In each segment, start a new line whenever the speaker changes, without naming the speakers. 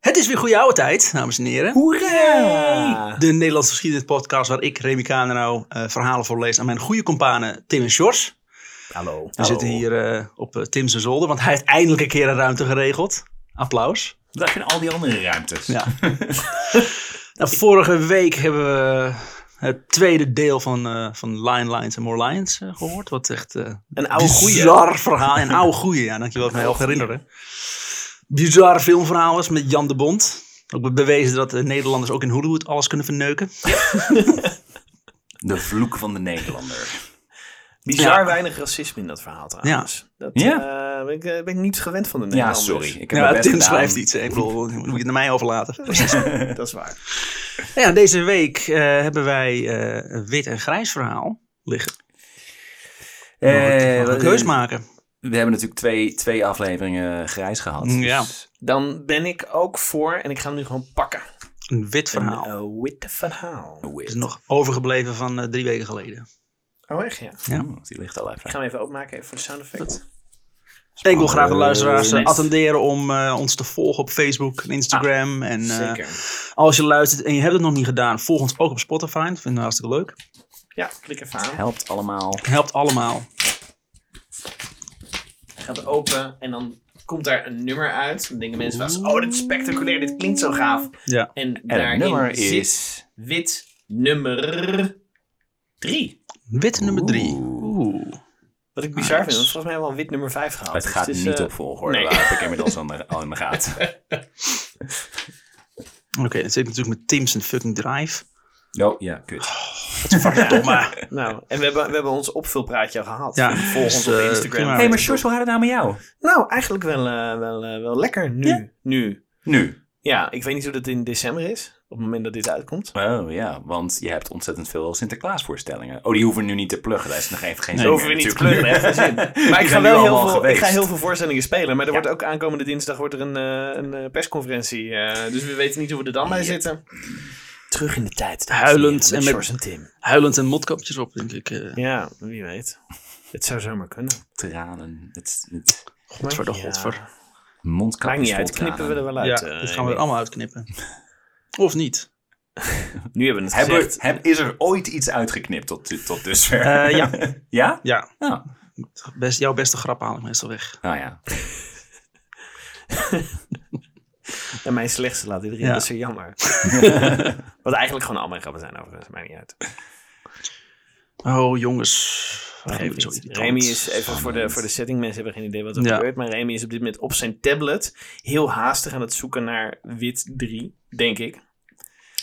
Het is weer goede oude tijd, dames en heren.
Hoera!
De Nederlandse geschiedenis podcast waar ik, Remy Kanerau, eh, verhalen voorlees aan mijn goede kompanen Tim en Sjors. We
Hallo. We
zitten hier eh, op eh, Tim's zolder, want hij heeft eindelijk een keer een ruimte geregeld. Applaus.
Daar zijn al die andere ruimtes.
Ja. nou, vorige week hebben we het tweede deel van, eh, van Line Lines en More Lines eh, gehoord. Wat echt eh,
Een oude goeie.
bizar verhaal. Een oude goeie, ja, dankjewel dat ik me al herinneren. Bizar filmverhaal was met Jan de Bond. Ook bewezen dat de Nederlanders ook in Hollywood alles kunnen verneuken.
De vloek van de Nederlander.
Bizar
Ja.
weinig racisme in dat verhaal trouwens. Dat eh, ben, ik, eh, ben ik niet gewend van de
Ja,
Nederlanders.
sorry. Ik heb
Ja,
mijn
Tim
best gedaan.
schrijft iets. hè. Ik bedoel, dan moet je het naar mij overlaten.
Dat is waar.
ja, deze week eh, hebben wij eh, een wit en grijs verhaal liggen.
Eh,
we gaan een
wat-
keus maken.
We hebben natuurlijk twee, twee afleveringen grijs gehad.
Mm, Ja.
Dus
Dan ben ik ook voor, en ik ga hem nu gewoon pakken.
Een wit
Dus,
verhaal.
Een eh, witte verhaal.
Nou. is
weird.
nog overgebleven van eh, drie weken geleden.
Oh echt ja. Ik
Ja.
Oh, die ligt al even.
ga hem even openmaken even voor de sound effect.
Ik wil graag de luisteraars eh,
Nice.
attenderen om eh, ons te volgen op Facebook en Instagram. en eh,
Zeker.
als je luistert en je hebt het nog niet gedaan, volg ons ook op Spotify. Dat vinden we hartstikke leuk.
Ja, klik even aan.
Helpt allemaal.
Helpt allemaal.
Gaat open en dan komt daar een nummer uit. Dan denken mensen vast, oh dit is spectaculair, dit klinkt zo gaaf.
Ja.
En,
En het
daarin
nummer
zit
is...
wit nummer drie.
Wit nummer drie.
Oeh.
Oeh.
Wat ik bizar
Nice.
vind, want volgens mij hebben we al wit nummer 5 gehad.
Ah, Het
Dus
gaat
is,
niet
eh,
op volgorde.
nee.
Dat heb ik inmiddels al in- al in de gaten.
Oké, dat zit natuurlijk met Tim's en fucking Drive.
Oh, ja, kut.
Verdomme.
Nou, en we hebben, we hebben ons opvulpraatje al gehad.
Ja,
Volg ons
dus,
op
eh,
Instagram.
prima.
hey, maar Sjors, hoe gaat het nou met jou?
Nou, eigenlijk wel, eh, wel, eh, wel lekker nu.
Ja?
Nu.
Nu.
Ja, ik weet niet hoe dat in december is. Op het moment dat dit uitkomt.
Oh ja, want je hebt ontzettend veel Sinterklaasvoorstellingen. Oh, die hoeven we nu niet te pluggen. Daar is nog even geen
Nee,
zin
Zo hoeven we
meer
niet te
natuurlijk.
kleuren. hè, geen zin. Maar
Die
ik ga
zijn nu
wel heel
allemaal
veel, ik ga
geweest.
heel veel voorstellingen spelen. Maar er wordt ook aankomende dinsdag wordt er een, eh, een eh, persconferentie. eh, dus we weten niet hoe we er dan bij zitten. Terug in de tijd. dames
Huilend
heren,
en
met
met-
Sjors en Tim.
Huilend en motkapjes op, denk ik. eh.
Ja, wie weet. Het zou zomaar kunnen.
Tranen. Het, het
Godver de
Ja.
godver.
mondkapje
Maakt niet
vol
uit, knippen we er
tranen.
wel
Ja,
uit. eh,
dat gaan we er
Remy.
allemaal uitknippen. Of niet?
Nu hebben we het
Hebben,
gezegd.
heb- is er ooit iets uitgeknipt tot, dit- tot dusver?
Eh, ja.
ja?
Ja,
Nou,
best, jouw beste grap haal ik meestal weg.
nou ja.
En mijn slechtste laat iedereen.
Ja.
Dat is zo jammer. Wat eigenlijk gewoon al mijn grappen zijn overigens. Maakt niet uit.
Oh, jongens. Waarom
Geeft
ben je zo
niet.
irritant?
Remy is, even voor de, voor de setting, mensen hebben geen idee wat er
Ja.
gebeurt. Maar Remy is op dit moment op zijn tablet heel haastig aan het zoeken naar wit 3, denk ik.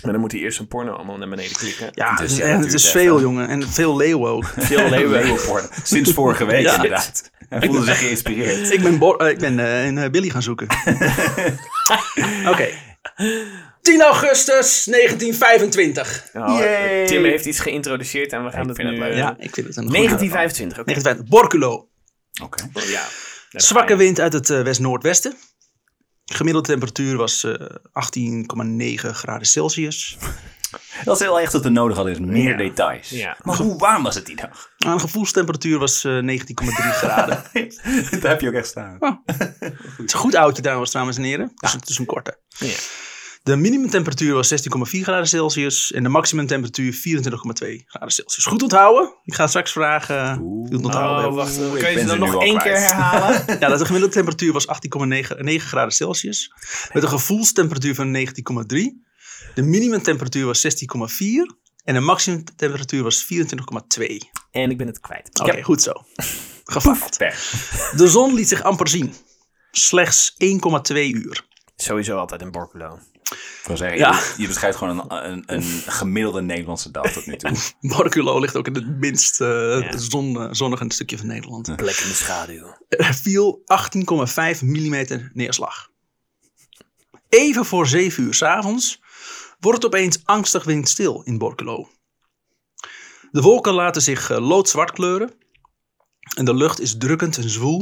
Maar dan moet hij eerst een porno allemaal naar beneden klikken.
Ja,
Dus ja,
en
dat
het
duurt
is
even.
veel, jongen. En veel leeuwen ook.
Veel leeuwen.
Leeuwenporno. Sinds vorige week
Ja.
inderdaad. Hij voelde zich geïnspireerd.
ik ben, Bor- eh, ik ben eh, in eh, Billy gaan zoeken. Oké. 10 augustus 1925.
Oh,
Yay.
Tim heeft iets geïntroduceerd en we gaan
Ik
het
vind
nu...
het leuk.
eh,
Ja, ik vind het een goede-
1925, oké. Oh,
1925. Borculo.
Oké.
Ja.
Zwakke wind uit het eh, west-noordwesten. Gemiddelde temperatuur was eh, 18,9 graden Celsius.
Dat is heel echt wat we nodig hadden, is meer
Ja.
details.
Ja.
Maar hoe warm was het die dag?
Aan gevoelstemperatuur was eh, 19,3 graden.
Daar heb je ook echt staan.
Het is een goed oudje trouwens, dames en heren. Dus het is een korte.
Ja.
De minimumtemperatuur was 16,4 graden Celsius en de maximumtemperatuur 24,2 graden Celsius. Goed onthouden. Ik ga straks vragen. eh,
Oeh.
hoe het onthouden
Oh,
hebben.
wacht.
Oeh, ik
Kun je
ben
ze
ze
dan
nu
nog
al
één
kwijt.
keer herhalen?
Ja, dat de gemiddelde temperatuur was 18,9 9 graden Celsius. Met een gevoelstemperatuur van 19,3. De minimumtemperatuur was 16,4. En de maximumtemperatuur was 24,2. Oké,
En ik ben het kwijt.
goed zo. Gefaald.
Pech.
De zon liet zich amper zien. Slechts 1,2 uur.
Sowieso altijd in Borculo.
Ik wil zeggen,
Ja.
je, je beschrijft gewoon een, een, een gemiddelde Nederlandse dag tot nu toe.
Borculo ligt ook in het minst eh,
Ja.
zon, eh, zonnige stukje van Nederland.
Plek in de schaduw.
Er viel 18,5 mm neerslag. Even voor 7 uur 's avonds wordt het opeens angstig windstil in Borculo. De wolken laten zich eh, loodzwart kleuren en de lucht is drukkend en zwoel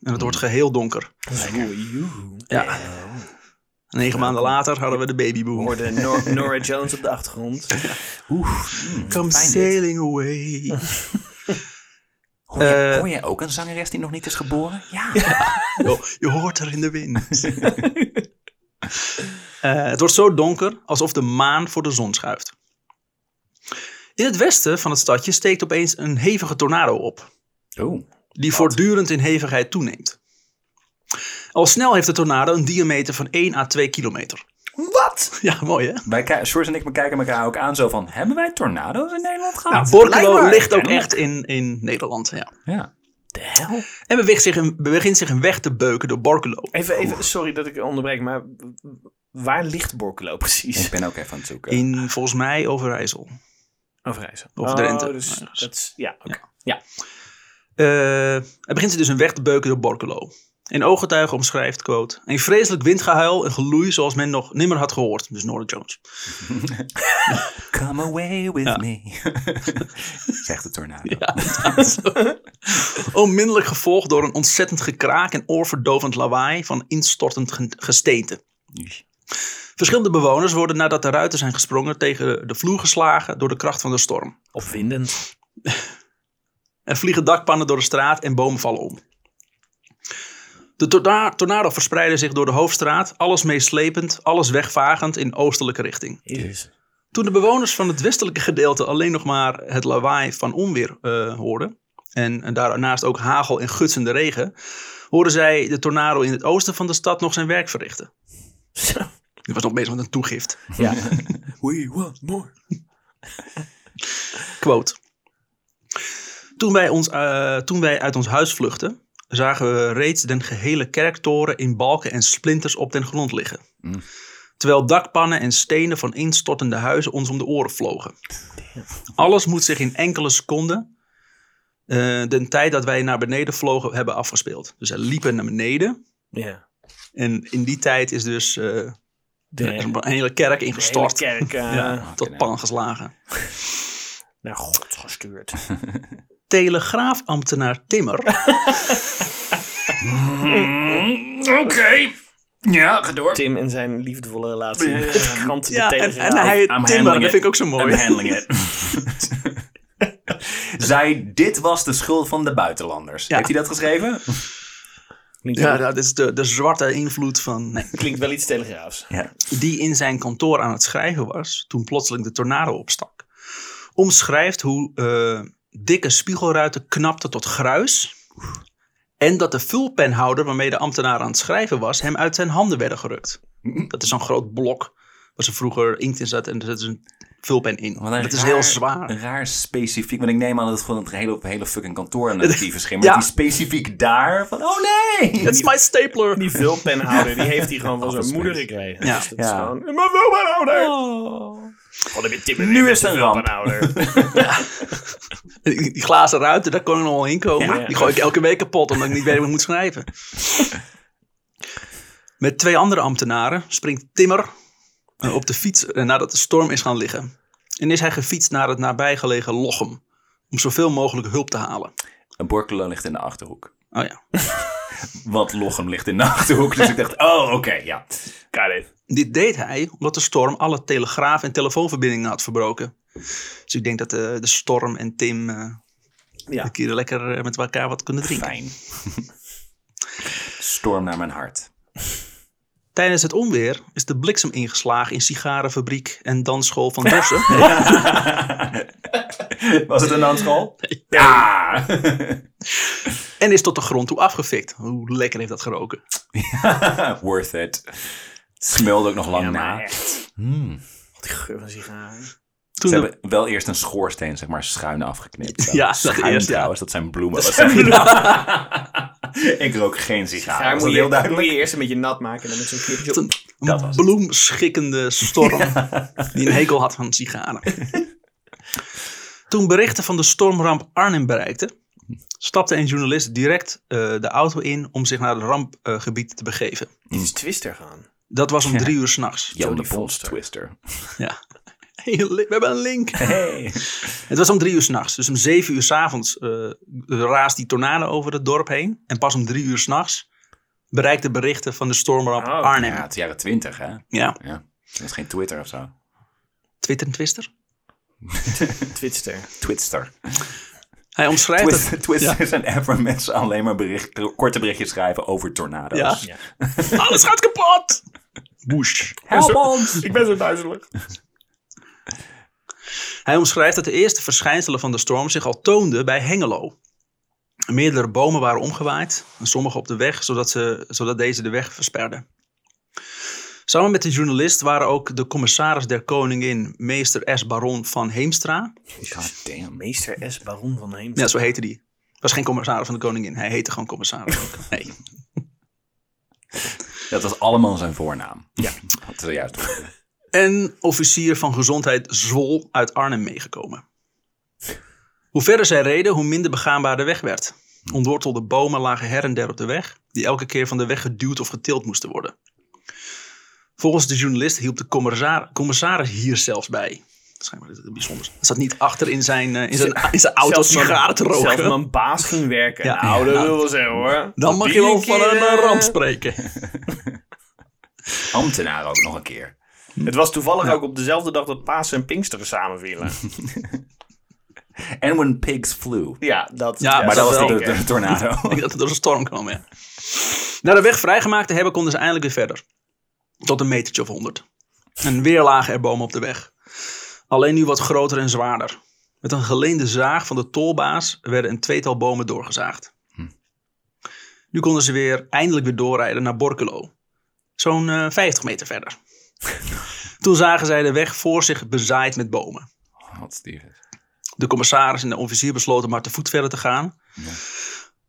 en het
Mm.
wordt geheel donker. Ja. Negen maanden later hadden we de
We
babyboom.
hoorden Nor Nora Jones op de achtergrond.
Come
fijn dit.
sailing away.
Hoor, je-
Eh.
hoor jij ook een zangeres die nog niet is geboren? Ja.
Jo, je hoort er in de wind. Eh, het wordt zo donker alsof de maan voor de zon schuift. In het westen van het stadje steekt opeens een hevige tornado op,
Oh,
die voortdurend in hevigheid toeneemt. Al snel heeft de tornado een diameter van 1 à 2 kilometer.
wat?
Ja, mooi hè?
Wij, ki- Sjors en ik we kijken elkaar ook aan zo van, hebben wij tornado's in Nederland
Nou,
gehad?
Borculo
Blijkbaar.
ligt ook
Kennelijk.
echt in, in Nederland. Ja.
Ja.
De hel?
En beweegt zich een, begint zich een weg te beuken door Borculo.
Even, even, sorry dat ik onderbreek, maar waar ligt Borculo precies?
Ik ben ook even aan het zoeken.
In volgens mij Overijssel.
Overijssel.
Of Drenthe.
Oh, dus
Ergens.
dat is, ja, oké.
Eh hij begint zich dus een weg te beuken door Borculo. Een ooggetuige omschrijft, quote, een vreselijk windgehuil en geloei zoals men nog nimmer had gehoord. Dus Norah Jones.
Come away with me. Zegt de tornado.
Ja, inderdaad. Onmiddellijk gevolgd door een ontzettend gekraak en oorverdovend lawaai van instortend ge- gesteente. Verschillende bewoners worden nadat de ruiten zijn gesprongen tegen de vloer geslagen door de kracht van de storm.
Opwindend.
Er vliegen dakpannen door de straat en bomen vallen om. De torda- tornado verspreidde zich door de hoofdstraat, alles meeslepend, alles wegvagend in oostelijke richting.
Jezus.
Toen de bewoners van het westelijke gedeelte alleen nog maar het lawaai van onweer eh, hoorden, en, en daarnaast ook hagel en gutsende regen, hoorden zij de tornado in het oosten van de stad nog zijn werk verrichten.
Zo.
Die was nog bezig met een toegift.
Ja. We want more.
Quote. Toen wij, ons, eh, toen wij uit ons huis vluchtten, zagen we reeds den gehele kerktoren in balken en splinters op den grond liggen.
Mm.
Terwijl dakpannen en stenen van instortende huizen ons om de oren vlogen. Alles moet zich in enkele seconden, eh den tijd dat wij naar beneden vlogen, hebben afgespeeld. Dus zij liepen naar beneden.
Ja.
En in die tijd is dus eh,
De,
er is
de
een hele kerk
hele
ingestort.
kerk eh,
Ja,
Oh,
tot pan geslagen.
naar God gestuurd.
Telegraafambtenaar Timmer
Mm, Oké. Ja, ga door.
Tim en zijn liefdevolle relatie.
Ja.
met de krant de
Ja, en,
Telegraaf.
en hij
I'm
Timber,
handling
dat
it.
vind ik ook zo
I'm
mooi.
handling it. Zij, dit was de schuld van de buitenlanders.
Ja.
Heeft hij dat geschreven?
Klinkt,
Ja,
wel,
dat is de, de zwarte invloed van... Nee,
klinkt wel iets telegraafs.
Ja.
die in zijn kantoor aan het schrijven was, toen plotseling de tornado opstak. Omschrijft hoe eh, dikke spiegelruiten knapten tot gruis. En dat de vulpenhouder waarmee de ambtenaar aan het schrijven was, hem uit zijn handen werden gerukt. Dat is zo'n groot blok waar ze vroeger inkt in zat en er zit een vulpen in.
Wat een
Dat is
raar-
heel zwaar.
Raar specifiek, want ik neem aan dat het gewoon het hele, hele fucking kantoor aan het dieven schimmert.
Ja.
Die specifiek daar van, oh nee!
That's my stapler.
Die vulpenhouder, die heeft hij gewoon van zijn moeder gekregen.
Ja.
Dus dat
Ja.
is gewoon... Maar vulpenhouder! God, heb je Tim
Nu is het een ramp.
Vulpenhouder.
Die die glazen ruiten, daar kon ik nog wel in komen.
Ja, ja.
Die gooi ik elke week kapot, omdat ik niet weet hoe ik moet schrijven. Met twee andere ambtenaren springt Timmer eh, op de fiets eh, nadat de storm is gaan liggen. En is hij gefietst naar het nabijgelegen Lochem. Om zoveel mogelijk hulp te halen.
Een Borculo ligt in de Achterhoek.
Oh ja.
Want Lochem ligt in de Achterhoek. Dus ik dacht, oh oké, ja.
Got it.
Dit deed hij omdat de storm alle telegraaf- en telefoonverbindingen had verbroken. Dus ik denk dat de, de storm en Tim eh
Ja.
een keer lekker eh, met elkaar wat kunnen drinken.
Fijn. Storm naar mijn hart.
Tijdens het onweer is de bliksem ingeslagen in sigarenfabriek en dansschool van Dorsen.
Was het een dansschool? Ja!
En is tot de grond toe afgefikt. Hoe lekker heeft dat geroken?
Worth it. Smelde ook nog lang
Ja, maar
na.
echt.
Hmm.
Die geur van sigaren.
Toen
Ze
de-
hebben wel eerst een schoorsteen, zeg maar, schuin afgeknipt.
Ja, dat
schuin
eerst, ja.
trouwens, dat zijn bloemen.
zijn
ik rook geen
Ja,
sigaar. Dat is
moet, je,
heel
moet
duidelijk.
je eerst een beetje nat maken en dan met zo'n knipje op.
Toen-
dat was
een
het.
bloemschikkende storm die een hekel had van sigaren. Toen berichten van de stormramp Arnhem bereikten, stapte een journalist direct eh, de auto in om zich naar het rampgebied eh, te begeven.
Dit is Twister gaan.
Dat was om drie uur s'nachts.
Jan de
Johnny
Vos
Vonster.
Twister.
Ja. Hey, we hebben een link.
Hey.
Het was om drie uur s'nachts. Dus om zeven uur s'avonds eh raast die tornado over het dorp heen. En pas om drie uur s'nachts bereikt de berichten van de stormramp
Oh,
Arnhem.
Ja, het is jaren twintig, hè?
Ja,
Ja. Dat is geen Twitter of zo.
Twitter en Twister.
Twister.
Twister.
Hij omschrijft het.
Twister, Twister zijn app waar mensen alleen maar bericht, korte berichtjes schrijven over tornado's.
Ja.
Ja.
Alles gaat kapot! Woesh.
Help ons!
Ik ben zo duizelig.
Hij omschrijft dat de eerste verschijnselen van de storm zich al toonden bij Hengelo. Meerdere bomen waren omgewaaid, en sommige op de weg, zodat, ze, zodat deze de weg versperden. Samen met de journalist waren ook de commissaris der koningin, meester S. Baron van Heemstra.
God damn.
Meester S. Baron van Heem.
Ja, zo heette die. Was geen commissaris van de koningin, hij heette gewoon commissaris.
Nee. Dat was allemaal zijn voornaam.
Ja.
Dat is juist. hoorde.
en officier van gezondheid Zwol uit Arnhem meegekomen. Hoe verder zij reden, hoe minder begaanbaar de weg werd. Ontwortelde bomen lagen her en der op de weg, die elke keer van de weg geduwd of getild moesten worden. Volgens de journalist hielp de commissar- commissaris hier zelfs bij. Schijnbaar is het bijzonder. Hij zat niet achter in zijn, eh, in zijn, in zijn auto
Zelfs mijn-
sigaren te roken.
Zelfs mijn baas ging werken.
Ja.
nou, dat
Ja.
wil wel zeggen hoor.
Dan mag
Die
je wel van
keer,
een eh,
eh,
ramp spreken.
Ambtenaar ook nog een keer.
Het was toevallig ook op dezelfde dag dat Pasen en Pinksteren samenvielen.
And when pigs flew.
ja, dat,
Ja,
Maar dat was
wel.
de,
zeker.
de tornado.
Ik denk dat het door een storm kwam, ja. Na de weg vrijgemaakt te hebben, konden ze eindelijk weer verder. Tot een metertje of honderd. En weer lagen er bomen op de weg. Alleen nu wat groter en zwaarder. Met een geleende zaag van de tolbaas werden een tweetal bomen doorgezaagd. Nu konden ze weer eindelijk weer doorrijden naar Borculo. Zo'n eh, 50 meter verder. Toen zagen zij de weg voor zich bezaaid met bomen.
Wat Steven.
De commissaris en de officier besloten maar te voet verder te gaan.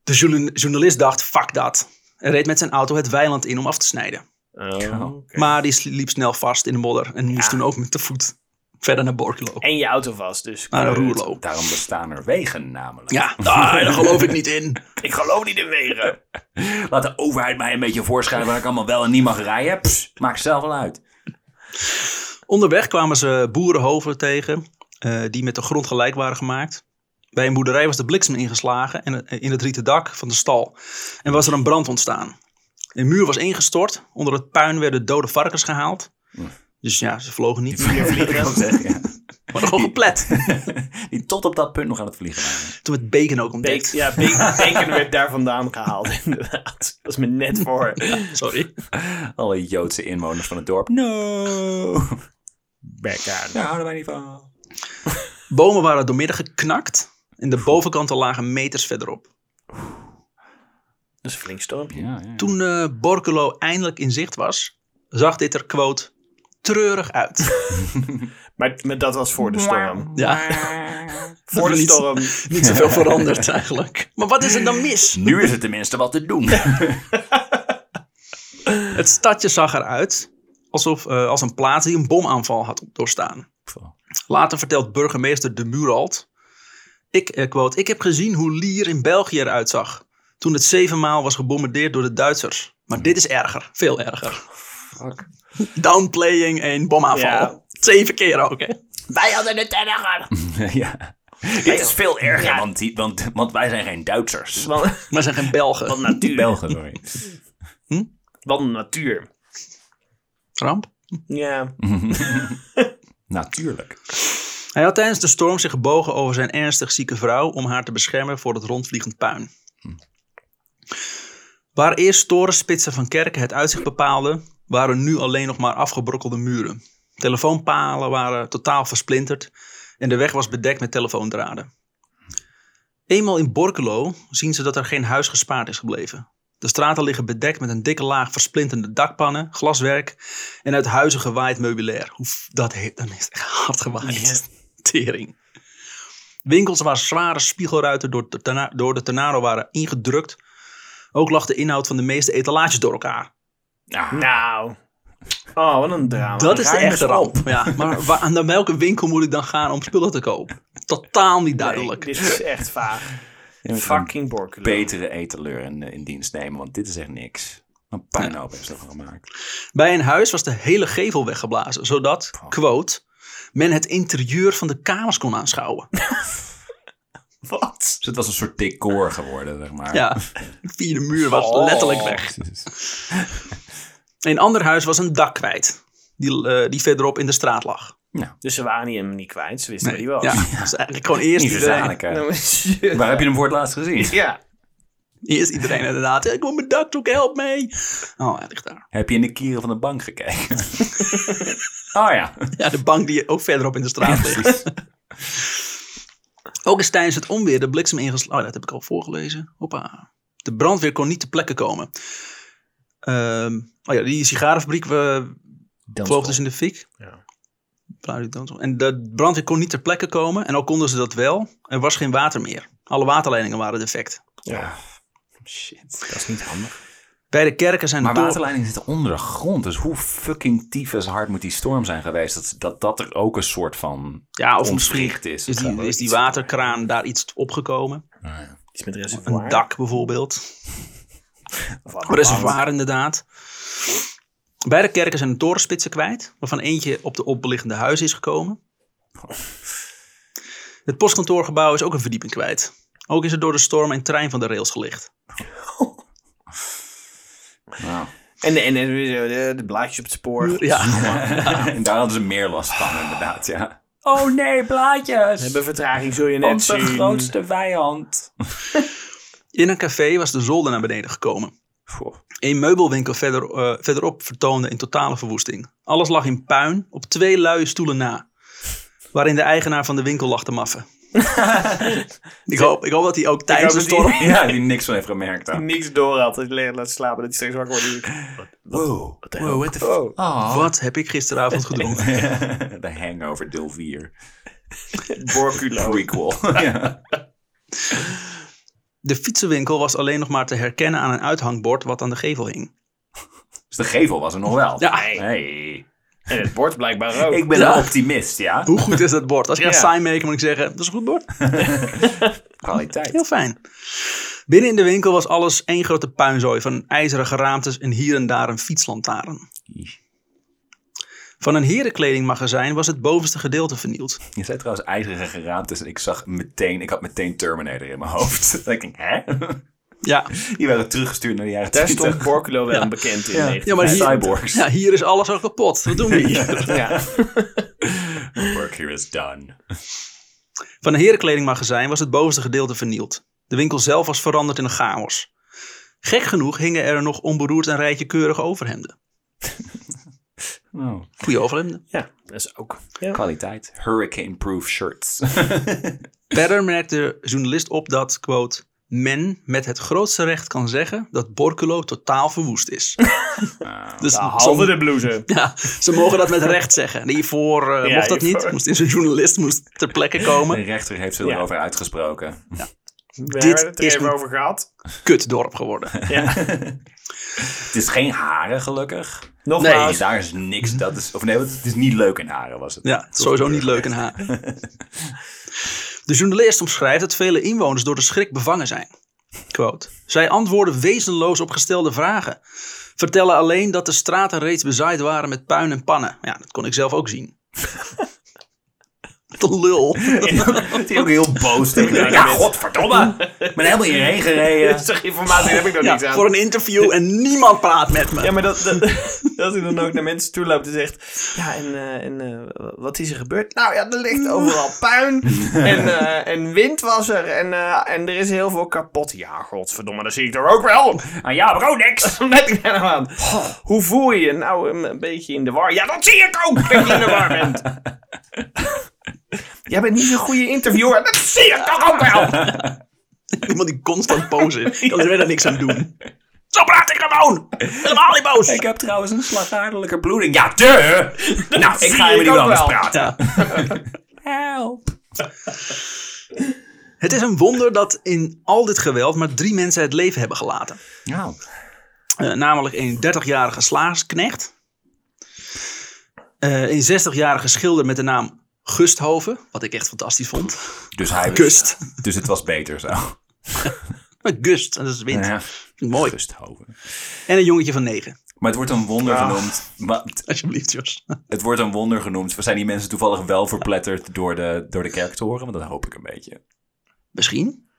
De journa- journalist dacht, fuck dat. En reed met zijn auto het weiland in om af te snijden.
Oh, oké.
Maar die sli- liep snel vast in de modder en moest
Ja.
toen ook met de voet verder naar Borculo.
En je auto vast, dus.
Naar
kut.
Roerlo.
Daarom bestaan er wegen namelijk.
Ja, ah, daar geloof ik niet in.
Ik geloof niet in wegen.
Laat de overheid mij een beetje voorschrijven waar ik allemaal wel en niet mag rijden. Pss, maakt zelf wel uit.
Onderweg kwamen ze boerenhoven tegen, eh, die met de grond gelijk waren gemaakt. Bij een boerderij was de bliksem ingeslagen en eh, in het rieten dak van de stal. En was er een brand ontstaan. Een muur was ingestort, onder het puin werden dode varkens gehaald. Dus ja, ze vlogen niet.
Die vliegen. Ja.
Maar gewoon geplet.
Die tot op dat punt nog aan het vliegen waren.
Toen werd bacon ook ontdekt.
Beek, ja, Beek, Beken werd daar vandaan gehaald, inderdaad. Dat is me net voor.
Sorry.
Alle Joodse inwoners van het dorp. No.
Beka.
Daar houden wij niet van.
Bomen waren doormidden geknakt. En de bovenkanten lagen meters verderop.
Dat is een flink stormpje.
Ja, ja.
Toen eh Borculo eindelijk in zicht was, zag dit er, quote, treurig uit.
Maar, maar dat was voor de storm.
Ja.
Voor de
Niet-
storm.
Niet zoveel veranderd eigenlijk. Maar wat is er dan mis?
Nu is het tenminste wat te doen.
Het stadje zag eruit alsof, eh, als een plaats die een bomaanval had doorstaan. Later vertelt burgemeester de Muralt. Ik, eh, quote, ik heb gezien hoe Lier in België eruit zag. Toen het zevenmaal was gebombardeerd door de Duitsers. Maar dit is erger. Veel erger.
Fuck.
Downplaying en bomaanval.
Ja.
Zeven keer ook, hè?
Wij hadden het erger.
ja. Dit is veel erger, want, die, want, want wij zijn geen Duitsers.
Want,
Maar zijn geen Belgen.
want natuur.
Belgen, sorry.
Wat een natuur.
Ramp?
Ja.
Natuurlijk.
Hij had tijdens de storm zich gebogen over zijn ernstig zieke vrouw om haar te beschermen voor het rondvliegend puin. Waar eerst torenspitsen van kerken het uitzicht bepaalden, waren nu alleen nog maar afgebrokkelde muren. Telefoonpalen waren totaal versplinterd en de weg was bedekt met telefoondraden. Eenmaal in Borculo zien ze dat er geen huis gespaard is gebleven. De straten liggen bedekt met een dikke laag versplinterde dakpannen, glaswerk en uit huizen gewaaid meubilair. Oef, dat heeft, dan is het echt hard gewaaid. Tering. Winkels waar zware spiegelruiten door de, torna- door de tornado waren ingedrukt. Ook lag de inhoud van de meeste etalages door elkaar.
Ja.
Nou. Oh, wat een drama.
Dat is de
Ruime
echte
storm.
ramp. Ja, maar waar, aan de- welke winkel moet ik dan gaan om spullen te kopen? Totaal niet duidelijk.
Nee, dit is echt vaag. Fucking Borculo.
Betere etaleur in, eh, in dienst nemen, want dit is echt niks. Een puinhoop heeft ze ervan gemaakt.
Bij een huis was de hele gevel weggeblazen, zodat, quote, men het interieur van de kamers kon aanschouwen.
Wat?
Dus het was een soort decor geworden, zeg maar.
Ja, de vierde muur was
Oh.
letterlijk weg. Een ander huis was een dak kwijt, die, eh, die verderop in de straat lag.
Dus ze waren hem niet kwijt. Ze wisten
Nee,
waar
ja,
hij was.
dat is eigenlijk gewoon eerst eh,
Niet
iedereen.
verzadigen.
Nou, shit.
Waar heb je hem voor het laatst gezien?
Ja.
Eerst iedereen inderdaad. Ik wil mijn dakdoek, help mee. Oh, hij ligt daar.
Heb je in de kieren van de bank gekeken? oh ja.
Ja, de bank die ook verderop in de straat ligt.
Precies.
Ook is tijdens het onweer de bliksem ingeslagen. Oh, dat heb ik al voorgelezen. Hoppa. De brandweer kon niet ter plekke komen. Ehm, oh ja, die sigarenfabriek eh, vloog dus in de fik.
Ja.
Blauwe dansel. En de brandweer kon niet ter plekke komen. En al konden ze dat wel, er was geen water meer. Alle waterleidingen waren defect.
Ja. Shit.
Dat is niet handig.
Bij de kerken zijn
Maar
de toren-
waterleidingen zitten onder de grond. Dus hoe fucking tyfus hard moet die storm zijn geweest? Dat dat, dat er ook een soort van
Ja, of misschien
ontwricht is.
is die, is die waterkraan daar iets opgekomen.
Iets met
Een
reservoir.
dak bijvoorbeeld.
Of aan de wand.
Reservoir inderdaad. Beide kerken zijn de torenspitsen kwijt, waarvan eentje op de opbeliggende huizen is gekomen. Het postkantoorgebouw is ook een verdieping kwijt. Ook is er door de storm een trein van de rails gelicht.
Nou.
En, en, en de, de blaadjes op het spoor.
Ja,
en daar hadden ze meer last van, inderdaad. Ja. Oh nee, blaadjes.
We hebben vertraging, zul je net zien.
vijand.
in een café was de zolder naar beneden gekomen. Een meubelwinkel verder, eh, verderop vertoonde een totale verwoesting. Alles lag in puin, op twee luie stoelen na. Waarin de eigenaar van de winkel lag te maffen. ik, hoop, ik hoop dat hij ook tijdens de
hoop dat hij-
storm...
Ja, die niks van heeft gemerkt.
Die
Hè.
niks door had. Dat hij laat slapen. Dat hij steeds wakker wordt.
Wow.
Wow, what the f- Ah.
Oh.
Wat heb ik gisteravond gedronken?
De Hangover deel 4.
Borculo.
Prequel. ja.
De fietsenwinkel was alleen nog maar te herkennen aan een uithangbord wat aan de gevel hing.
Dus de gevel was er nog wel.
Ja.
Hey.
En het bord blijkbaar ook.
Ik ben
Ja.
een optimist, ja.
Hoe goed is dat bord? Als ik echt
Ja.
saai meek, moet ik zeggen, dat is een goed bord. Heel
Kwaliteit.
fijn. Binnen in de winkel was alles één grote puinzooi van ijzeren geraamtes en hier en daar een fietslantaarn. Van een herenkledingmagazijn was het bovenste gedeelte vernield.
Je zei trouwens ijzeren geraamtes en ik zag meteen, ik had meteen Terminator in mijn hoofd. Dat ik denk, hè?
Ja,
Die waren teruggestuurd naar de jaren
Daar
20.
stond Borculo wel bekend in.
Ja.
19.
ja maar hier,
Cyborgs.
ja, hier is alles al kapot. Wat doen we hier?
Ja.
Work here is done.
Van een herenkledingmagazijn was het bovenste gedeelte vernield. De winkel zelf was veranderd in een chaos. Gek genoeg hingen er nog onberoerd een rijtje keurige overhemden.
Oh.
Goeie overhemden.
Ja, dat is ook. Ja.
Kwaliteit. Hurricane-proof shirts.
Verder merkte de journalist op dat, quote, men met het grootste recht kan zeggen dat Borculo totaal verwoest is. dus
Behalve
ze,
Nou, de blouse.
ja, ze mogen dat met recht zeggen. De Ivoor eh,
Ja,
mocht dat niet.
hiervoor.
Moest in zijn journalist moest ter plekke
de
komen.
rechter heeft ze
Ja.
erover uitgesproken.
We
Dit
hebben het er
is
even
een-
over gehad.
Kutdorp geworden.
Ja.
Het is geen haren, gelukkig.
Nogmaals.
Nee, daar is niks. Dat is, of nee, want het is niet leuk in haren, was het.
Ja, het is sowieso niet leuk in haar. De journalist omschrijft dat vele inwoners door de schrik bevangen zijn. Quote. Zij antwoorden wezenloos op gestelde vragen. Vertellen alleen dat de straten reeds bezaaid waren met puin en pannen. Ja, dat kon ik zelf ook zien. Wat een lul.
Dat is ook heel boos. tegen elkaar. Ja, godverdomme. Ik ben helemaal hierheen gereden.
Dat is informatie, daar heb ik nog
Ja,
niks aan.
voor een interview en niemand praat met me.
Ja, maar dat, dat, dat hij dan ook naar mensen toe loopt en zegt... Ja, en, eh, en eh, wat is er gebeurd? Nou ja, er ligt overal puin en, eh, en wind was er en, eh, en er is heel veel kapot. Ja, godverdomme, dat zie ik er ook wel.
Ah ja, bro, niks.
Wat heb ik daar nou aan? Hoe voel je je nou een, een beetje in de war? Ja, dat zie ik ook, dat je in de war bent. Jij bent niet zo'n goede interviewer. Dat zie ik toch ook wel.
Iemand die constant boos is. Ik kan er verder niks aan doen. Zo praat ik gewoon. Helemaal niet boos.
Ik heb trouwens een slagaardelijke bloeding. Ja, duh. Nou, ik ga even
ik
niet
ook
anders
wel.
praten.
Ja.
Help.
Het is een wonder dat in al dit geweld maar drie mensen het leven hebben gelaten.
Nou,
Eh, namelijk een 30-jarige slagersknecht. Eh, een 60-jarige schilder met de naam Gusthoven. Wat ik echt fantastisch vond.
dus, hij was-
Gust.
dus het was beter zo.
Maar Eh, Gust, dat is wind.
Ja.
Mooi.
Rusthoven.
En een jongetje van 9.
Maar het wordt een wonder
Ah.
genoemd. Maar het-
Alsjeblieft, Jos.
het wordt een wonder genoemd. We zijn die mensen toevallig wel verpletterd door de, door de kerktoren. Want dat hoop ik een beetje.
Misschien.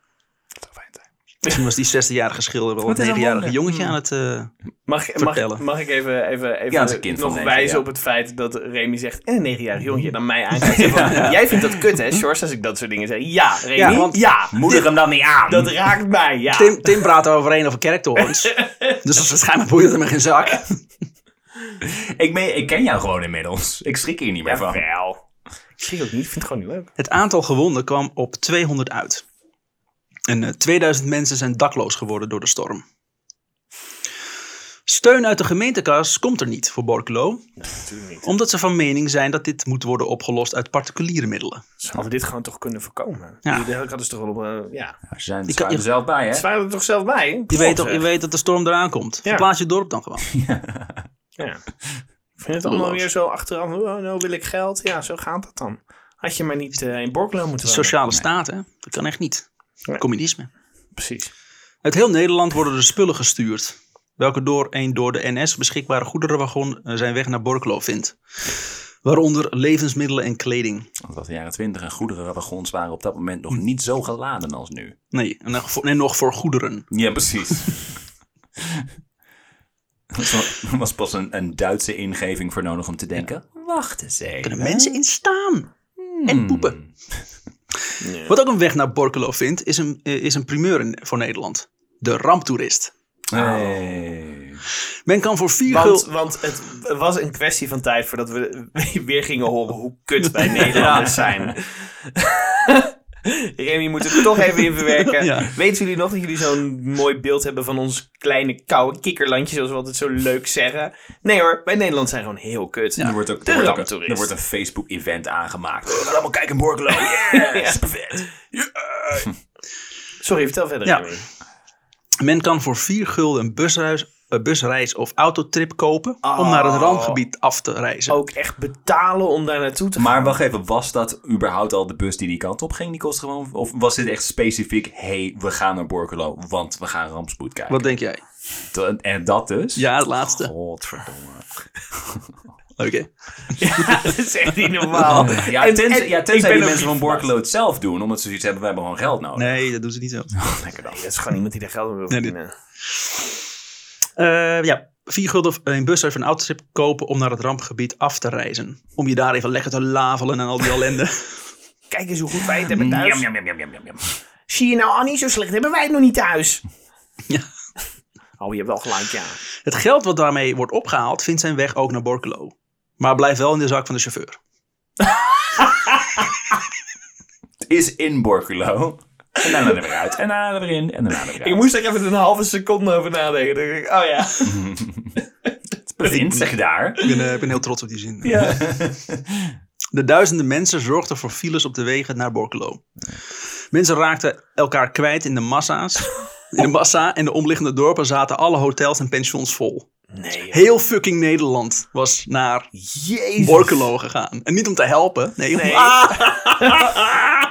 Dat zou fijn zijn.
Misschien was die 16-jarige schilder wel
Het
het
is een
9-jarige
wonder.
jongetje aan het...
Hmm.
eh,
Mag, mag,
Vertellen.
mag ik even, even, even
Ja, dat is een kind van
nog
negen,
wijzen
ja.
op het feit dat Remy zegt... en een negenjarig jongetje dan mij aankijkt. en van, Jij vindt dat kut, hè, Sjors, als ik dat soort dingen zeg? Ja, Remy, ja.
Ja, want-
Moedig hem dan niet aan.
dat raakt mij, ja.
Tim, Tim praat overheen over kerktorens. dus dat waarschijnlijk boeit het hem geen zak.
Ik, meen- ik ken jou gewoon inmiddels. Ik schrik hier niet meer van.
Jawel. Ik schrik ook niet, ik vind het gewoon niet leuk.
Het aantal gewonden kwam op 200 uit. En eh, 2000 mensen zijn dakloos geworden door de storm. Steun uit de gemeentekas komt er niet voor Borculo,
Natuurlijk niet.
omdat ze van mening zijn dat dit moet worden opgelost uit particuliere middelen.
Ze hadden dit gewoon toch kunnen voorkomen.
Ja.
Die hadden dus toch wel op... eh, ja.
Ja, Ze zijn
Die
ze
kan-
waren er zelf bij, hè?
Ze waren er toch zelf bij, hè?
Je,
God,
weet, toch, je
zeg.
weet dat de storm eraan komt. Verplaats je dorp dan gewoon.
Ja. Ik vind het allemaal
Beloofd.
weer zo achteraf. Oh, nou wil ik geld. Ja, zo gaat dat dan. Had je maar niet eh, in Borklo moeten
De
wonen.
sociale staat, hè? dat kan echt niet.
Nee.
Communisme.
Precies.
Uit heel Nederland worden er spullen gestuurd. Welke door een door de NS beschikbare goederenwagon eh, zijn weg naar Borculo vindt. Waaronder levensmiddelen en kleding.
Want dat de jaren 20 en goederenwagons waren op dat moment
Hm.
nog niet zo geladen als nu.
Nee, en nog voor, en nog voor goederen.
Ja, precies. Er was pas een, een Duitse ingeving voor nodig om te denken. Wacht eens
Kunnen
even.
mensen in staan en poepen.
Ja.
Wat ook een weg naar Borculo vindt, is een, eh, is een primeur in- voor Nederland. De ramptoerist.
Hmm. Hey.
Men kan voor 4
Want,
gulden...
want het was een kwestie van tijd voordat we weer gingen horen hoe kut wij Nederlanders zijn. Remy moet het toch even in verwerken.
Ja.
Weten jullie nog dat jullie zo'n mooi beeld hebben van ons kleine koude kikkerlandje, zoals we altijd zo leuk zeggen? Nee hoor, wij Nederland zijn gewoon heel kut.
Er wordt ook,
de
er wordt ook-
ramptoerist.
er wordt een Facebook-event aangemaakt. We gaan allemaal kijken, Borkelo. Yeah, is perfect.
Sorry, vertel verder.
Ja.
Remy.
Men kan voor 4 gulden een busreis, een busreis of autotrip kopen... om naar het rampgebied af te reizen.
Ook echt betalen om daar naartoe te gaan.
Maar wacht even, was dat überhaupt al de bus die die kant op ging? Die kost gewoon, of was dit echt specifiek, hey, we gaan naar Borkelo, want we gaan rampspoed kijken?
Wat denk jij?
Dat- En dat dus?
Ja, het laatste.
Godverdomme.
Oké.
Ja, dat is echt niet normaal.
Ja,
En-
tenzij,
en
ja,
ik
tenzij
ben
die
ook
mensen van
niet
Borkelo het zelf doen, omdat ze zoiets hebben, we hebben gewoon geld nodig.
Nee, dat doen ze niet zo.
Lekker dan.
Dat is gewoon iemand die daar geld aan wil
Nee, dit-
verdienen.
Eh, ja, 4 gulden voor een busreis of een autotrip kopen om naar het rampgebied af te reizen. Om je daar even lekker te lavelen en al die ellende.
Kijk eens hoe goed wij het hebben thuis.
Jam, jam, jam, jam, jam, jam.
Zie je nou Annie, zo slecht hebben wij het nog niet thuis.
Ja.
Oh, je hebt wel gelijk, ja.
Het geld wat daarmee wordt opgehaald vindt zijn weg ook naar Borculo. Maar blijft wel in de zak van de chauffeur.
Het Is in Borkelo. En daarna er weer uit. En daarna er weer in. En daarna er weer uit.
Ik moest er even een halve seconde over nadenken. Dan denk ik, oh ja.
Bevindt zich daar.
Ik ben, eh, ik ben heel trots op die zin.
Ja.
De duizenden mensen zorgden voor files op de wegen naar Borculo. Mensen raakten elkaar kwijt in de massa's. In de massa en de omliggende dorpen zaten alle hotels en pensions vol.
Nee.
Heel fucking Nederland was naar
Jezus.
Borculo gegaan. En niet om te helpen. Nee, om-
Nee.
Ah!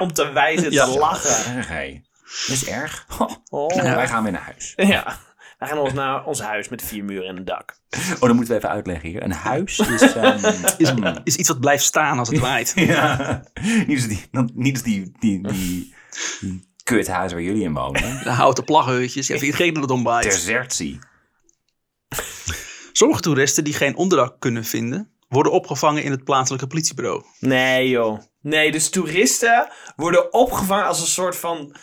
Om te wijzen, te
Ja.
lachen.
Erg, hé. Dat is erg. Ho.
Oh.
Nou, wij gaan weer naar huis.
Ja. We gaan ons naar ons huis met vier muren en een dak.
Oh, dan moeten we even uitleggen hier. Een huis is... ehm,
is, is iets wat blijft staan als het waait.
Ja, niet als die, dan- niet als die, die, die kuthuis waar jullie in wonen.
De houten plaggeutjes. Ja, vergeet dat het omwaait.
Desertie.
Sommige toeristen die geen onderdak kunnen vinden, worden opgevangen in het plaatselijke politiebureau.
Nee, joh. Nee, dus toeristen worden opgevangen als een soort van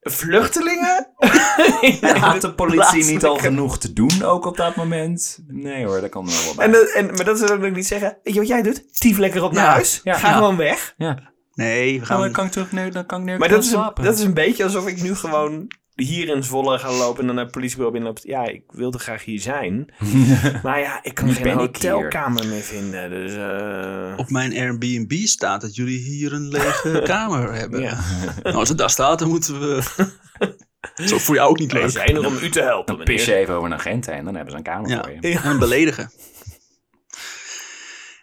vluchtelingen.
Had de politie niet al
plaatselijke-
genoeg te doen ook op dat moment? Nee hoor, dat kan er wel bij.
En, dat- en, maar dat ze dan ook niet zeggen, weet je wat jij doet? Tief lekker op naar
Ja,
huis.
ja,
Ga
ja.
gewoon weg.
ja.
Nee, we
Oh,
gaan.
dan kan ik terug naar, dan kan ik naar
Maar dat is, een,
slapen.
dat is een beetje alsof ik nu gewoon hier in Zwolle ga lopen en dan naar het politiebureau binnenloop. Ja, ik wilde graag hier zijn. maar ja, ik kan
Nu
geen
ben ik hier.
hotelkamer meer vinden. Dus eh,
Op mijn Airbnb staat dat jullie hier een lege kamer hebben.
Ja.
Nou, als het daar staat, dan moeten we. Zo voor jou ook niet
wij
leuk.
zijn er om u te helpen,
Dan pis je
meneer.
even over een agent heen, dan hebben ze een kamer
Ja,
voor je.
en beledigen.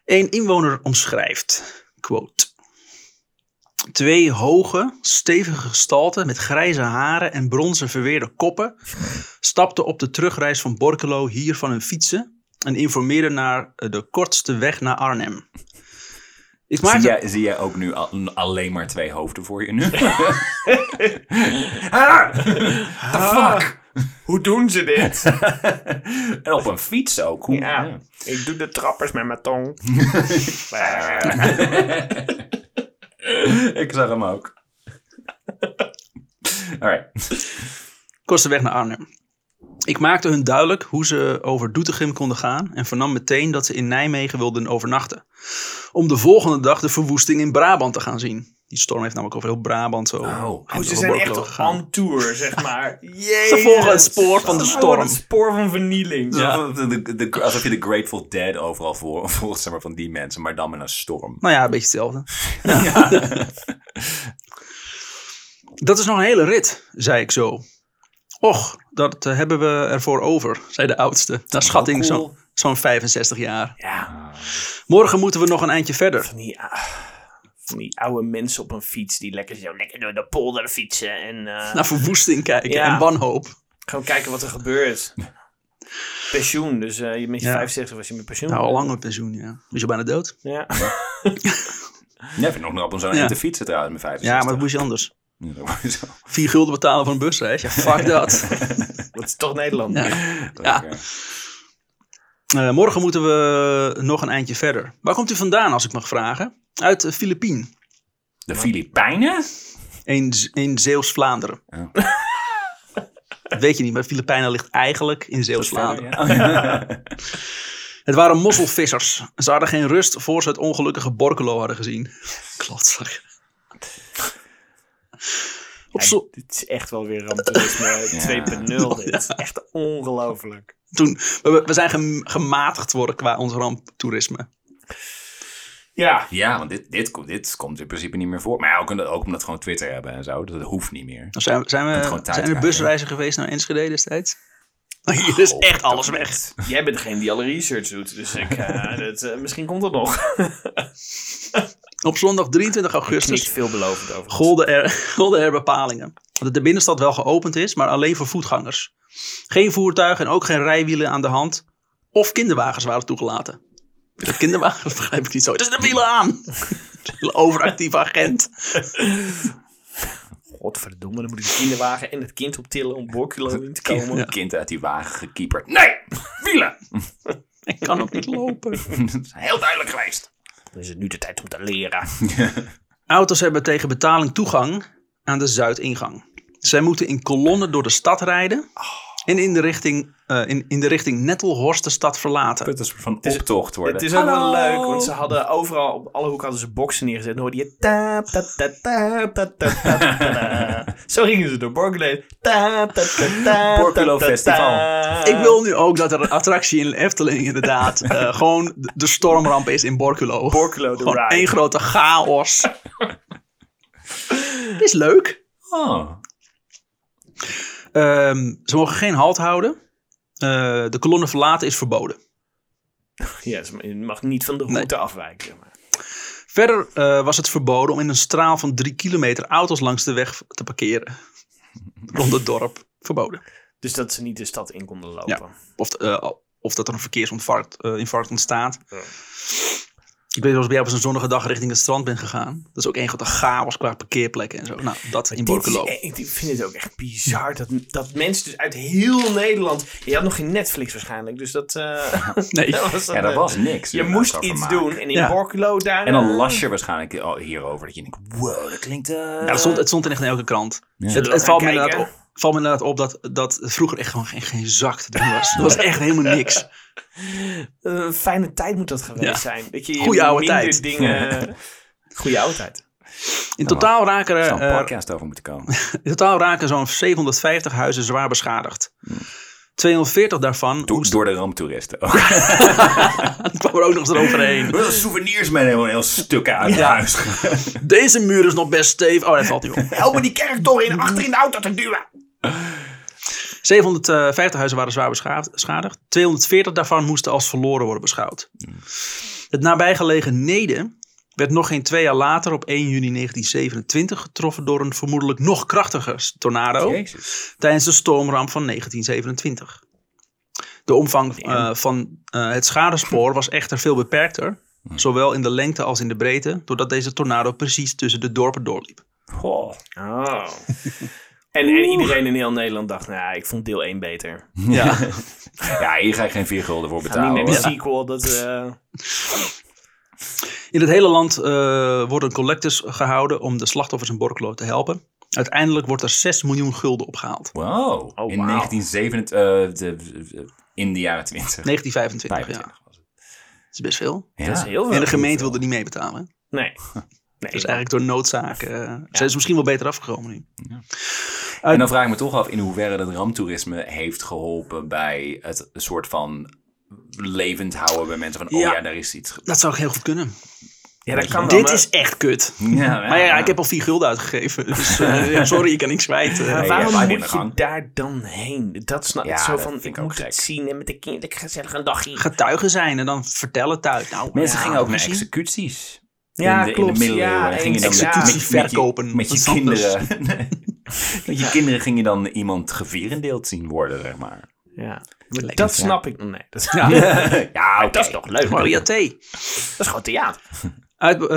Een inwoner omschrijft, quote... Twee hoge, stevige gestalten met grijze haren en bronzen verweerde koppen stapten op de terugreis van Borkelo hier van hun fietsen en informeerden naar eh, de kortste weg naar Arnhem. Ik
Zie
maak
jij, zie jij ook nu al- alleen maar twee hoofden voor je nu?
Ah, Hoe doen ze dit?
en op een fiets ook. Hoe,
Ja, ik doe de trappers met mijn tong.
Eh. Ik zag hem ook. Alright.
kortste weg naar Arnhem. Ik maakte hun duidelijk hoe ze over Doetinchem konden gaan en vernam meteen dat ze in Nijmegen wilden overnachten. Om de volgende dag de verwoesting in Brabant te gaan zien. Die storm heeft namelijk over heel Brabant zo.
Oh, ze
over
zijn
Borculo
echt op
gegaan.
on tour, zeg maar.
Ze volgen het spoor van de
Ze volgen
storm.
Het spoor van vernieling.
Alsof de- de- alsof je de Grateful Dead overal voor, volgt, zeg maar, van die mensen, maar dan met een storm.
Nou ja, een beetje hetzelfde. Dat is nog een hele rit, zei ik zo. Och, dat eh, hebben we ervoor over, zei de oudste. Naar
Oh,
schatting
cool.
zo'n zo'n 65 jaar.
Ja,
Morgen moeten we nog een eindje verder.
van die, ah, van die oude mensen op een fiets die lekker zo lekker door de polder fietsen en eh,
Naar verwoesting kijken
Ja.
en wanhoop.
gewoon kijken wat er gebeurt. Pensioen, dus eh, je met je
Ja.
65 was je met pensioen.
Nou, al lang met pensioen, ja. Was je bijna dood?
Ja.
Jij vindt nog een op om zo'n
Ja.
heen te fietsen trouwens met 65.
Ja, maar dat moest je anders.
Ja, dat moet je zo.
Vier gulden betalen voor een busreis? Ja, fuck dat.
Dat is toch Nederland.
Ja. Ja.
Oké.
Eh, morgen moeten we nog een eindje verder. Waar komt u vandaan, als ik mag vragen? Uit eh, de Filipijn.
De Filipijnen?
In, Z- in Zeeuws-Vlaanderen.
Ja.
Dat weet je niet, maar Filipijnen ligt eigenlijk in Zeeuws-Vlaanderen.
Ja.
Het waren mosselvissers. Ze hadden geen rust voor ze het ongelukkige Borkelo hadden gezien. Klotzak. Op
Ja,
zo-
dit is echt wel weer ramptoerisme 2.0. Dit is echt ongelooflijk.
toen, we, we zijn gem- gematigd worden qua ons ramptoerisme.
Ja.
Ja, want dit, dit, komt- dit komt in principe niet meer voor. Maar ja, ook, omdat- ook omdat we gewoon Twitter hebben en zo. Dat hoeft niet meer.
Nou, Zijn, zijn,
Het
we,
gewoon tijd
zijn er
krijgen.
busreizen geweest naar Enschede destijds? Hier is
Oh,
echt alles
dat
weg.
niet.
Jij bent degene die alle research doet, dus ik, eh, dat, eh, misschien komt dat nog.
Op zondag 23
Klinkt
augustus
veelbelovend over.
golden er, golden er bepalingen. Dat de binnenstad wel geopend is, maar alleen voor voetgangers. Geen voertuigen en ook geen rijwielen aan de hand. Of kinderwagens waren toegelaten. Dat kinderwagen dat begrijp ik niet zo. Het is de wielen aan! De hele overactieve agent.
Godverdomme, dan moet ik de kinderwagen en het kind optillen om Borculo in te
Kind,
komen.
kind uit die wagen gekieperd. Nee, wielen!
Ik kan ook niet lopen.
Dat is heel duidelijk geweest.
Dan is het nu de tijd om te leren.
Auto's hebben tegen betaling toegang aan de Zuidingang. Zij moeten in kolonnen door de stad rijden en in de richting, eh, in, in de richting Nettelhorst de stad verlaten.
Het is een soort van optocht worden.
Het is ook wel
Hallo.
leuk, want ze hadden overal, op alle hoeken hadden ze boksen neergezet. En hoorde je... Ta, ta, ta, ta, ta, ta, ta, ta. Zo gingen ze door Borculo. Ta, ta, ta, ta, ta,
Borculo
ta,
Festival.
ta.
Ik wil nu ook dat er een attractie in de Efteling inderdaad eh, gewoon de- de stormramp is in Borculo.
Borculo de
Gewoon één
ride.
grote chaos. Het is leuk.
Oh.
Ehm, ze mogen geen halt houden. Eh, de kolonnen verlaten is verboden.
Ja, ze- je mag niet van de route afwijken. Maar.
Verder eh, was het verboden om in een straal van drie kilometer auto's langs de weg te parkeren. Rond het dorp. Verboden.
Dus dat ze niet de stad in konden lopen.
Of, eh, of dat er een verkeersinfarct eh, infarct ontstaat.
Ja.
Ik weet wel eens bij jou op zo'n zonnige dag richting het strand bent gegaan. Dat is ook één grote chaos qua parkeerplekken en zo. Nou, dat in
Dit is- e-
Borculo.
ik ik vind het ook echt bizar dat, dat mensen dus uit heel Nederland... Je had nog geen Netflix waarschijnlijk, dus dat... eh,
Nee.
dat was
Ja, dat
eh,
was niks.
Je moest iets doen en in
Ja.
Borculo daar... eh,
En dan
Ah.
las je waarschijnlijk oh, hierover. Dat je denkt, wow, dat klinkt... eh,
Ja, het, stond, het stond echt in elke krant. Het,
Zullen we
het valt, me
gaan
inderdaad
kijken?
op, valt me inderdaad op dat, dat vroeger echt gewoon geen, geen zak te doen was. Dat was echt helemaal niks.
Eh, fijne tijd moet dat geweest
Ja.
zijn. Dat je
Goeie oude
minder
tijd.
dingen... Goeie oude tijd.
In totaal raken
Er
er,
zou een
eh,
podcast over moeten komen.
in totaal raken zo'n 750 huizen zwaar beschadigd. 240 daarvan
Door, door de ramptoeristen. Oh, ook.
kwam er nou ook nog eens eroverheen.
Wel souvenirs meenemen, een heel stuk uit het
Ja.
huis.
Deze muur is nog best stevig. Oh, dat valt niet op.
Help me die kerktoren in, achter in de auto te duwen.
750 huizen waren zwaar bescha- beschadigd. 240 daarvan moesten als verloren worden beschouwd. Het nabijgelegen Nede werd nog geen twee jaar later op 1 juni 1927 getroffen door een vermoedelijk nog krachtiger tornado
Jezus.
tijdens de stormramp van 1927. De omvang eh, van eh, het schadespoor was echter veel beperkter
Hmm.
Zowel in de lengte als in de breedte, doordat deze tornado precies tussen de dorpen doorliep.
Goh.
Oh. En, en iedereen in heel Nederland dacht, nou, ik vond deel 1
Nou,
beter.
Ja.
Ja, hier ga je geen vier gulden voor
Ga niet
betalen.
met een
hoor.
sequel, dat... eh,
In het hele land eh, worden collectors gehouden om de slachtoffers in Borculo te helpen. Uiteindelijk wordt er 6 miljoen gulden opgehaald.
Wow.
Oh,
wauw.
In 1927, eh, de- de- in de jaren 20.
1925, ja.
25 was het.
Dat is best veel.
Ja.
Dat is heel veel.
En de gemeente wilde niet meebetalen.
Nee. nee.
Dus eigenlijk door noodzaak eh, zijn ze misschien wel beter afgekomen nu.
En dan vraag ik me toch af in hoeverre dat ramtoerisme heeft geholpen bij het soort van levend houden bij mensen van, oh
Ja.
ja, daar is iets. ge-
Dat zou ook heel goed kunnen.
ja, dat kan wel,
Dit
maar-
is echt kut.
Ja,
Maar ja, ik heb al 4 gulden uitgegeven. Dus eh, ja, sorry, ik kan niks kwijt. eh.
Maar
Nee,
waarom
ja, maar
moet
dit
je
gang.
daar dan heen? Dat snap ik
Ja,
zo
dat
van,
vind
ik
ik ook
moet het
gek.
zien en met de kinderen gezellig een dagje.
getuigen zijn en dan vertellen thuis. Nou,
Mensen
ja,
gingen ook naar
gezien.
executies.
Ja,
in de,
klopt.
In de middeleeuwen
Ja,
ging je dan
executie
met- met- met je-
verkopen.
Met je,
Dat is
kinderen. met je kinderen ging je dan iemand gevierendeeld zien worden, zeg maar.
Ja. Maar dat snap ik. Nee, dat,
Ja.
Ja, oké.
dat is toch leuk.
Maria T.
Dat is gewoon theater.
Uit, eh,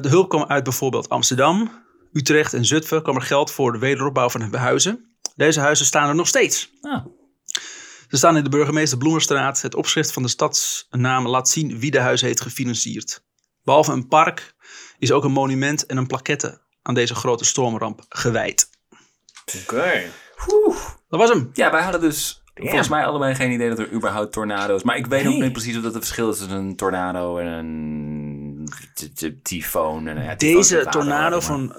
de hulp kwam uit bijvoorbeeld Amsterdam, Utrecht en Zutphen. kwam er geld voor de wederopbouw van de huizen. Deze huizen staan er nog steeds.
Ah.
Ze staan in de burgemeester Bloemenstraat. Het opschrift van de stadsnaam laat zien wie de huis heeft gefinancierd. Behalve een park is ook een monument en een plaquette aan deze grote stormramp gewijd.
Oké.
Dat was hem.
Ja, wij hadden dus
Damn.
volgens mij allebei geen idee dat er überhaupt tornado's... Maar ik weet ook
Nee.
niet precies of dat het verschil is tussen een tornado en een ty- ty- tyfoon. En, ja, tyfoon is
Deze
het water,
tornado
maar-
van, van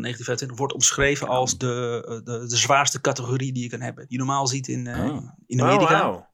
1925 wordt omschreven als de, eh, de, de zwaarste categorie die je kan hebben. Die je normaal ziet in, eh,
Oh.
in Amerika.
Ah. wauw.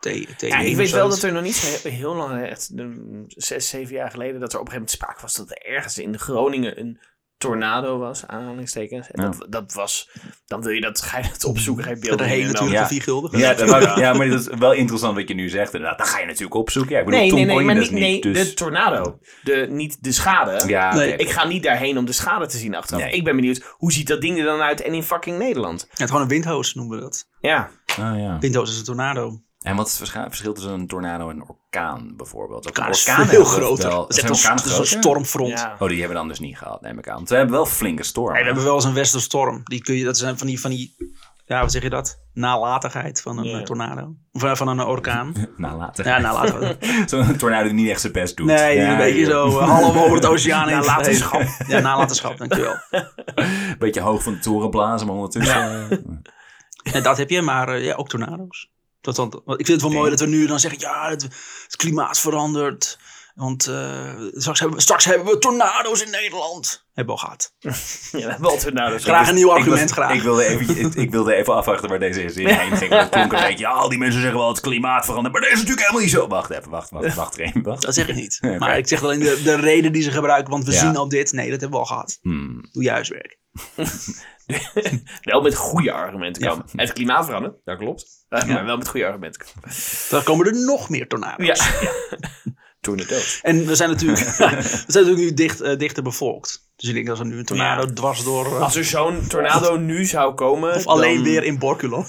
T- T-
Ja, ik
of
weet wel
zoiets.
dat er nog niet zo he- heel lang, echt mm, zes, zeven jaar geleden, dat er op een gegeven moment sprake was dat er ergens in Groningen een tornado was, aanhalingstekens. En
Ja.
dat, dat was, dan wil je dat, ga je dat opzoeken, ga je
Dat
beelden
de hele
en dan-
natuurlijk ja. vier
Ja.
gulden.
Ja, dat wou ik- ja, maar dat is wel interessant wat je nu zegt. Inderdaad, dat ga je natuurlijk opzoeken. Ja, ik bedoel,
Nee,
toen
nee,
kon
nee,
je
maar
dat
niet,
niet,
nee,
dus...
de tornado. De, niet de schade.
ja,
Nee.
oké.
Ik ga niet daarheen om de schade te zien achteraf.
Nee.
Ik ben benieuwd, hoe ziet dat ding er dan uit en in fucking Nederland?
Ja, gewoon een windhoos noemen we dat.
Ja,
Ah, ja.
Windhoos is een tornado.
En wat is het verscha- verschil tussen een tornado en een orkaan bijvoorbeeld? Dat
Orkaan is
orkanen
veel
hebben
groter.
wel-
Dat is echt
zijn
een,
orkanen
dat is een
groter?
stormfront.
ja.
Oh, die hebben we dan dus niet gehad, neem ik aan. Want we hebben wel flinke stormen.
Nee, we hebben wel eens een westerstorm. Die kun je, dat zijn van die, van die, ja, wat zeg je dat? Nalatigheid van een
Ja.
eh, tornado. Of eh, van een orkaan.
Nou, later.
Ja, nalatigheid.
Zo'n tornado die niet echt zijn best doet.
Nee, die
Ja,
een beetje
joh.
zo eh, half over het oceaan heen.
Nalatenschap.
Ja, nalatenschap, dankjewel. eh.
Beetje hoog van de toren blazen, maar ondertussen... eh,
En dat heb je, maar eh, ja, ook tornado's. Dat dan, want ik vind het wel mooi dat we nu dan zeggen, ja, het, het klimaat verandert. Want eh, straks, hebben we, straks hebben we tornado's in Nederland. Hebben we al gehad.
ja we hebben al tornado's.
Graag een nieuw
Dus ik was-
argument, graag.
Ik wilde, even, ik, ik wilde even afwachten waar deze zin heen ging. want Het klonk een beetje, ja, al die mensen zeggen wel het klimaat verandert, maar dat is natuurlijk helemaal niet zo. Wacht even, wacht, wacht, wacht even, wacht.
Dat zeg ik niet.
Oké.
Maar ik zeg alleen de, de reden die ze gebruiken, want we
Ja.
zien al dit. Nee, dat hebben we al gehad.
Hmm.
Doe je huiswerk.
Wel met goede argumenten
Ja.
komen. Het klimaat veranderen, dat klopt. Maar wel met goede argumenten komen.
Dan komen er nog meer tornado's.
Ja. Tornado's.
En we zijn natuurlijk, we zijn natuurlijk nu dicht, eh, dichter bevolkt. Dus ik denk dat er nu een tornado
Ja.
dwars door... eh,
Als er zo'n tornado nu zou komen...
of alleen
dan-
weer in Borculo.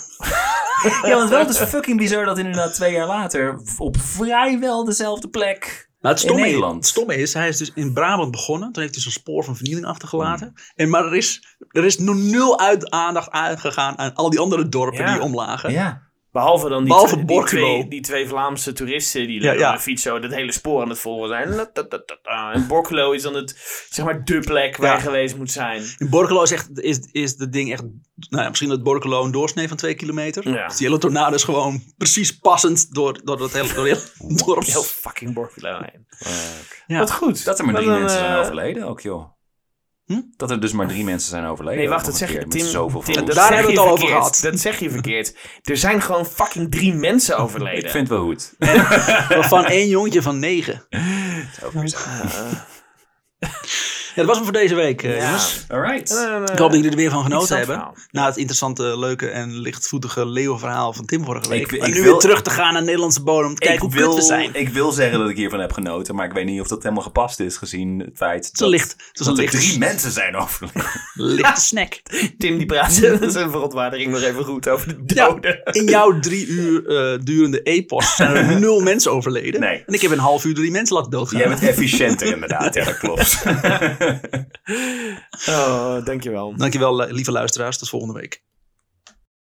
Ja, want wel, het is fucking bizar dat inderdaad twee jaar later op vrijwel dezelfde plek.
Nou, het,
In
stomme is,
Nederland.
het stomme is, hij is dus in Brabant begonnen. Toen heeft hij zo'n spoor van vernieling achtergelaten. En, maar er is, er is nog nul uit, aandacht uitgegaan aan al die andere dorpen
Ja.
die omlagen.
Ja.
Behalve dan die,
Behalve
twee, die,
Borculo.
twee, die twee Vlaamse toeristen die
Ja,
ja,
ja.
fiets zo dat hele spoor aan het volgen zijn. La, ta, ta, ta, ta. En Borculo is dan het, zeg maar, de plek waar
Ja.
je geweest moet zijn.
In Borculo is, echt, is, is dat ding echt... Nou ja, misschien dat Borculo een doorsnee van twee kilometer.
Ja.
Dus die hele tornado is gewoon precies passend door, door dat hele, door het hele dorp.
Heel fucking Borculo heen.
Ja.
Wat goed.
Dat er maar
Wat
drie
een,
mensen zijn
eh,
overleden ook, joh.
Hm?
Dat er dus maar drie mensen zijn overleden.
Nee, wacht,
ook
dat
nog
zeg
een
je.
keer
Tim,
Met zoveel
Tim,
verliezen.
dat
Daar
zeg
hebben we
je
het al over
verkeerd.
gehad.
Dat zeg je verkeerd. Er zijn gewoon fucking drie mensen overleden.
Ik vind het wel goed.
Waarvan één jongetje van negen.
Het is ook bizar.
En dat was hem voor deze week, eh,
Ja.
jongens.
All right.
Eh,
Ik hoop dat jullie er weer van genoten
interessant
hebben. Na het interessante, leuke en lichtvoetige leeuwenverhaal van Tim vorige week.
Ik- ik
maar nu
wil-
weer terug te gaan naar Nederlandse bodem. Om te kijken hoe kut we zijn.
ik wil zeggen dat ik hiervan heb genoten, maar ik weet niet of dat helemaal gepast is gezien het feit
Het is een
dat,
licht, het is een
dat er
licht,
drie Oh, mensen zijn overleden.
lichte snack.
Tim die praat zijn verontwaardiging nog even goed over de
Ja,
doden.
in jouw drie uur eh, durende epos zijn er nul mensen overleden.
Nee.
En ik heb in een half uur drie mensen laten doodgaan.
Jij bent efficiënter inderdaad, ja dat klopt.
Oh, dankjewel.
Dankjewel, li- lieve luisteraars. Tot volgende week.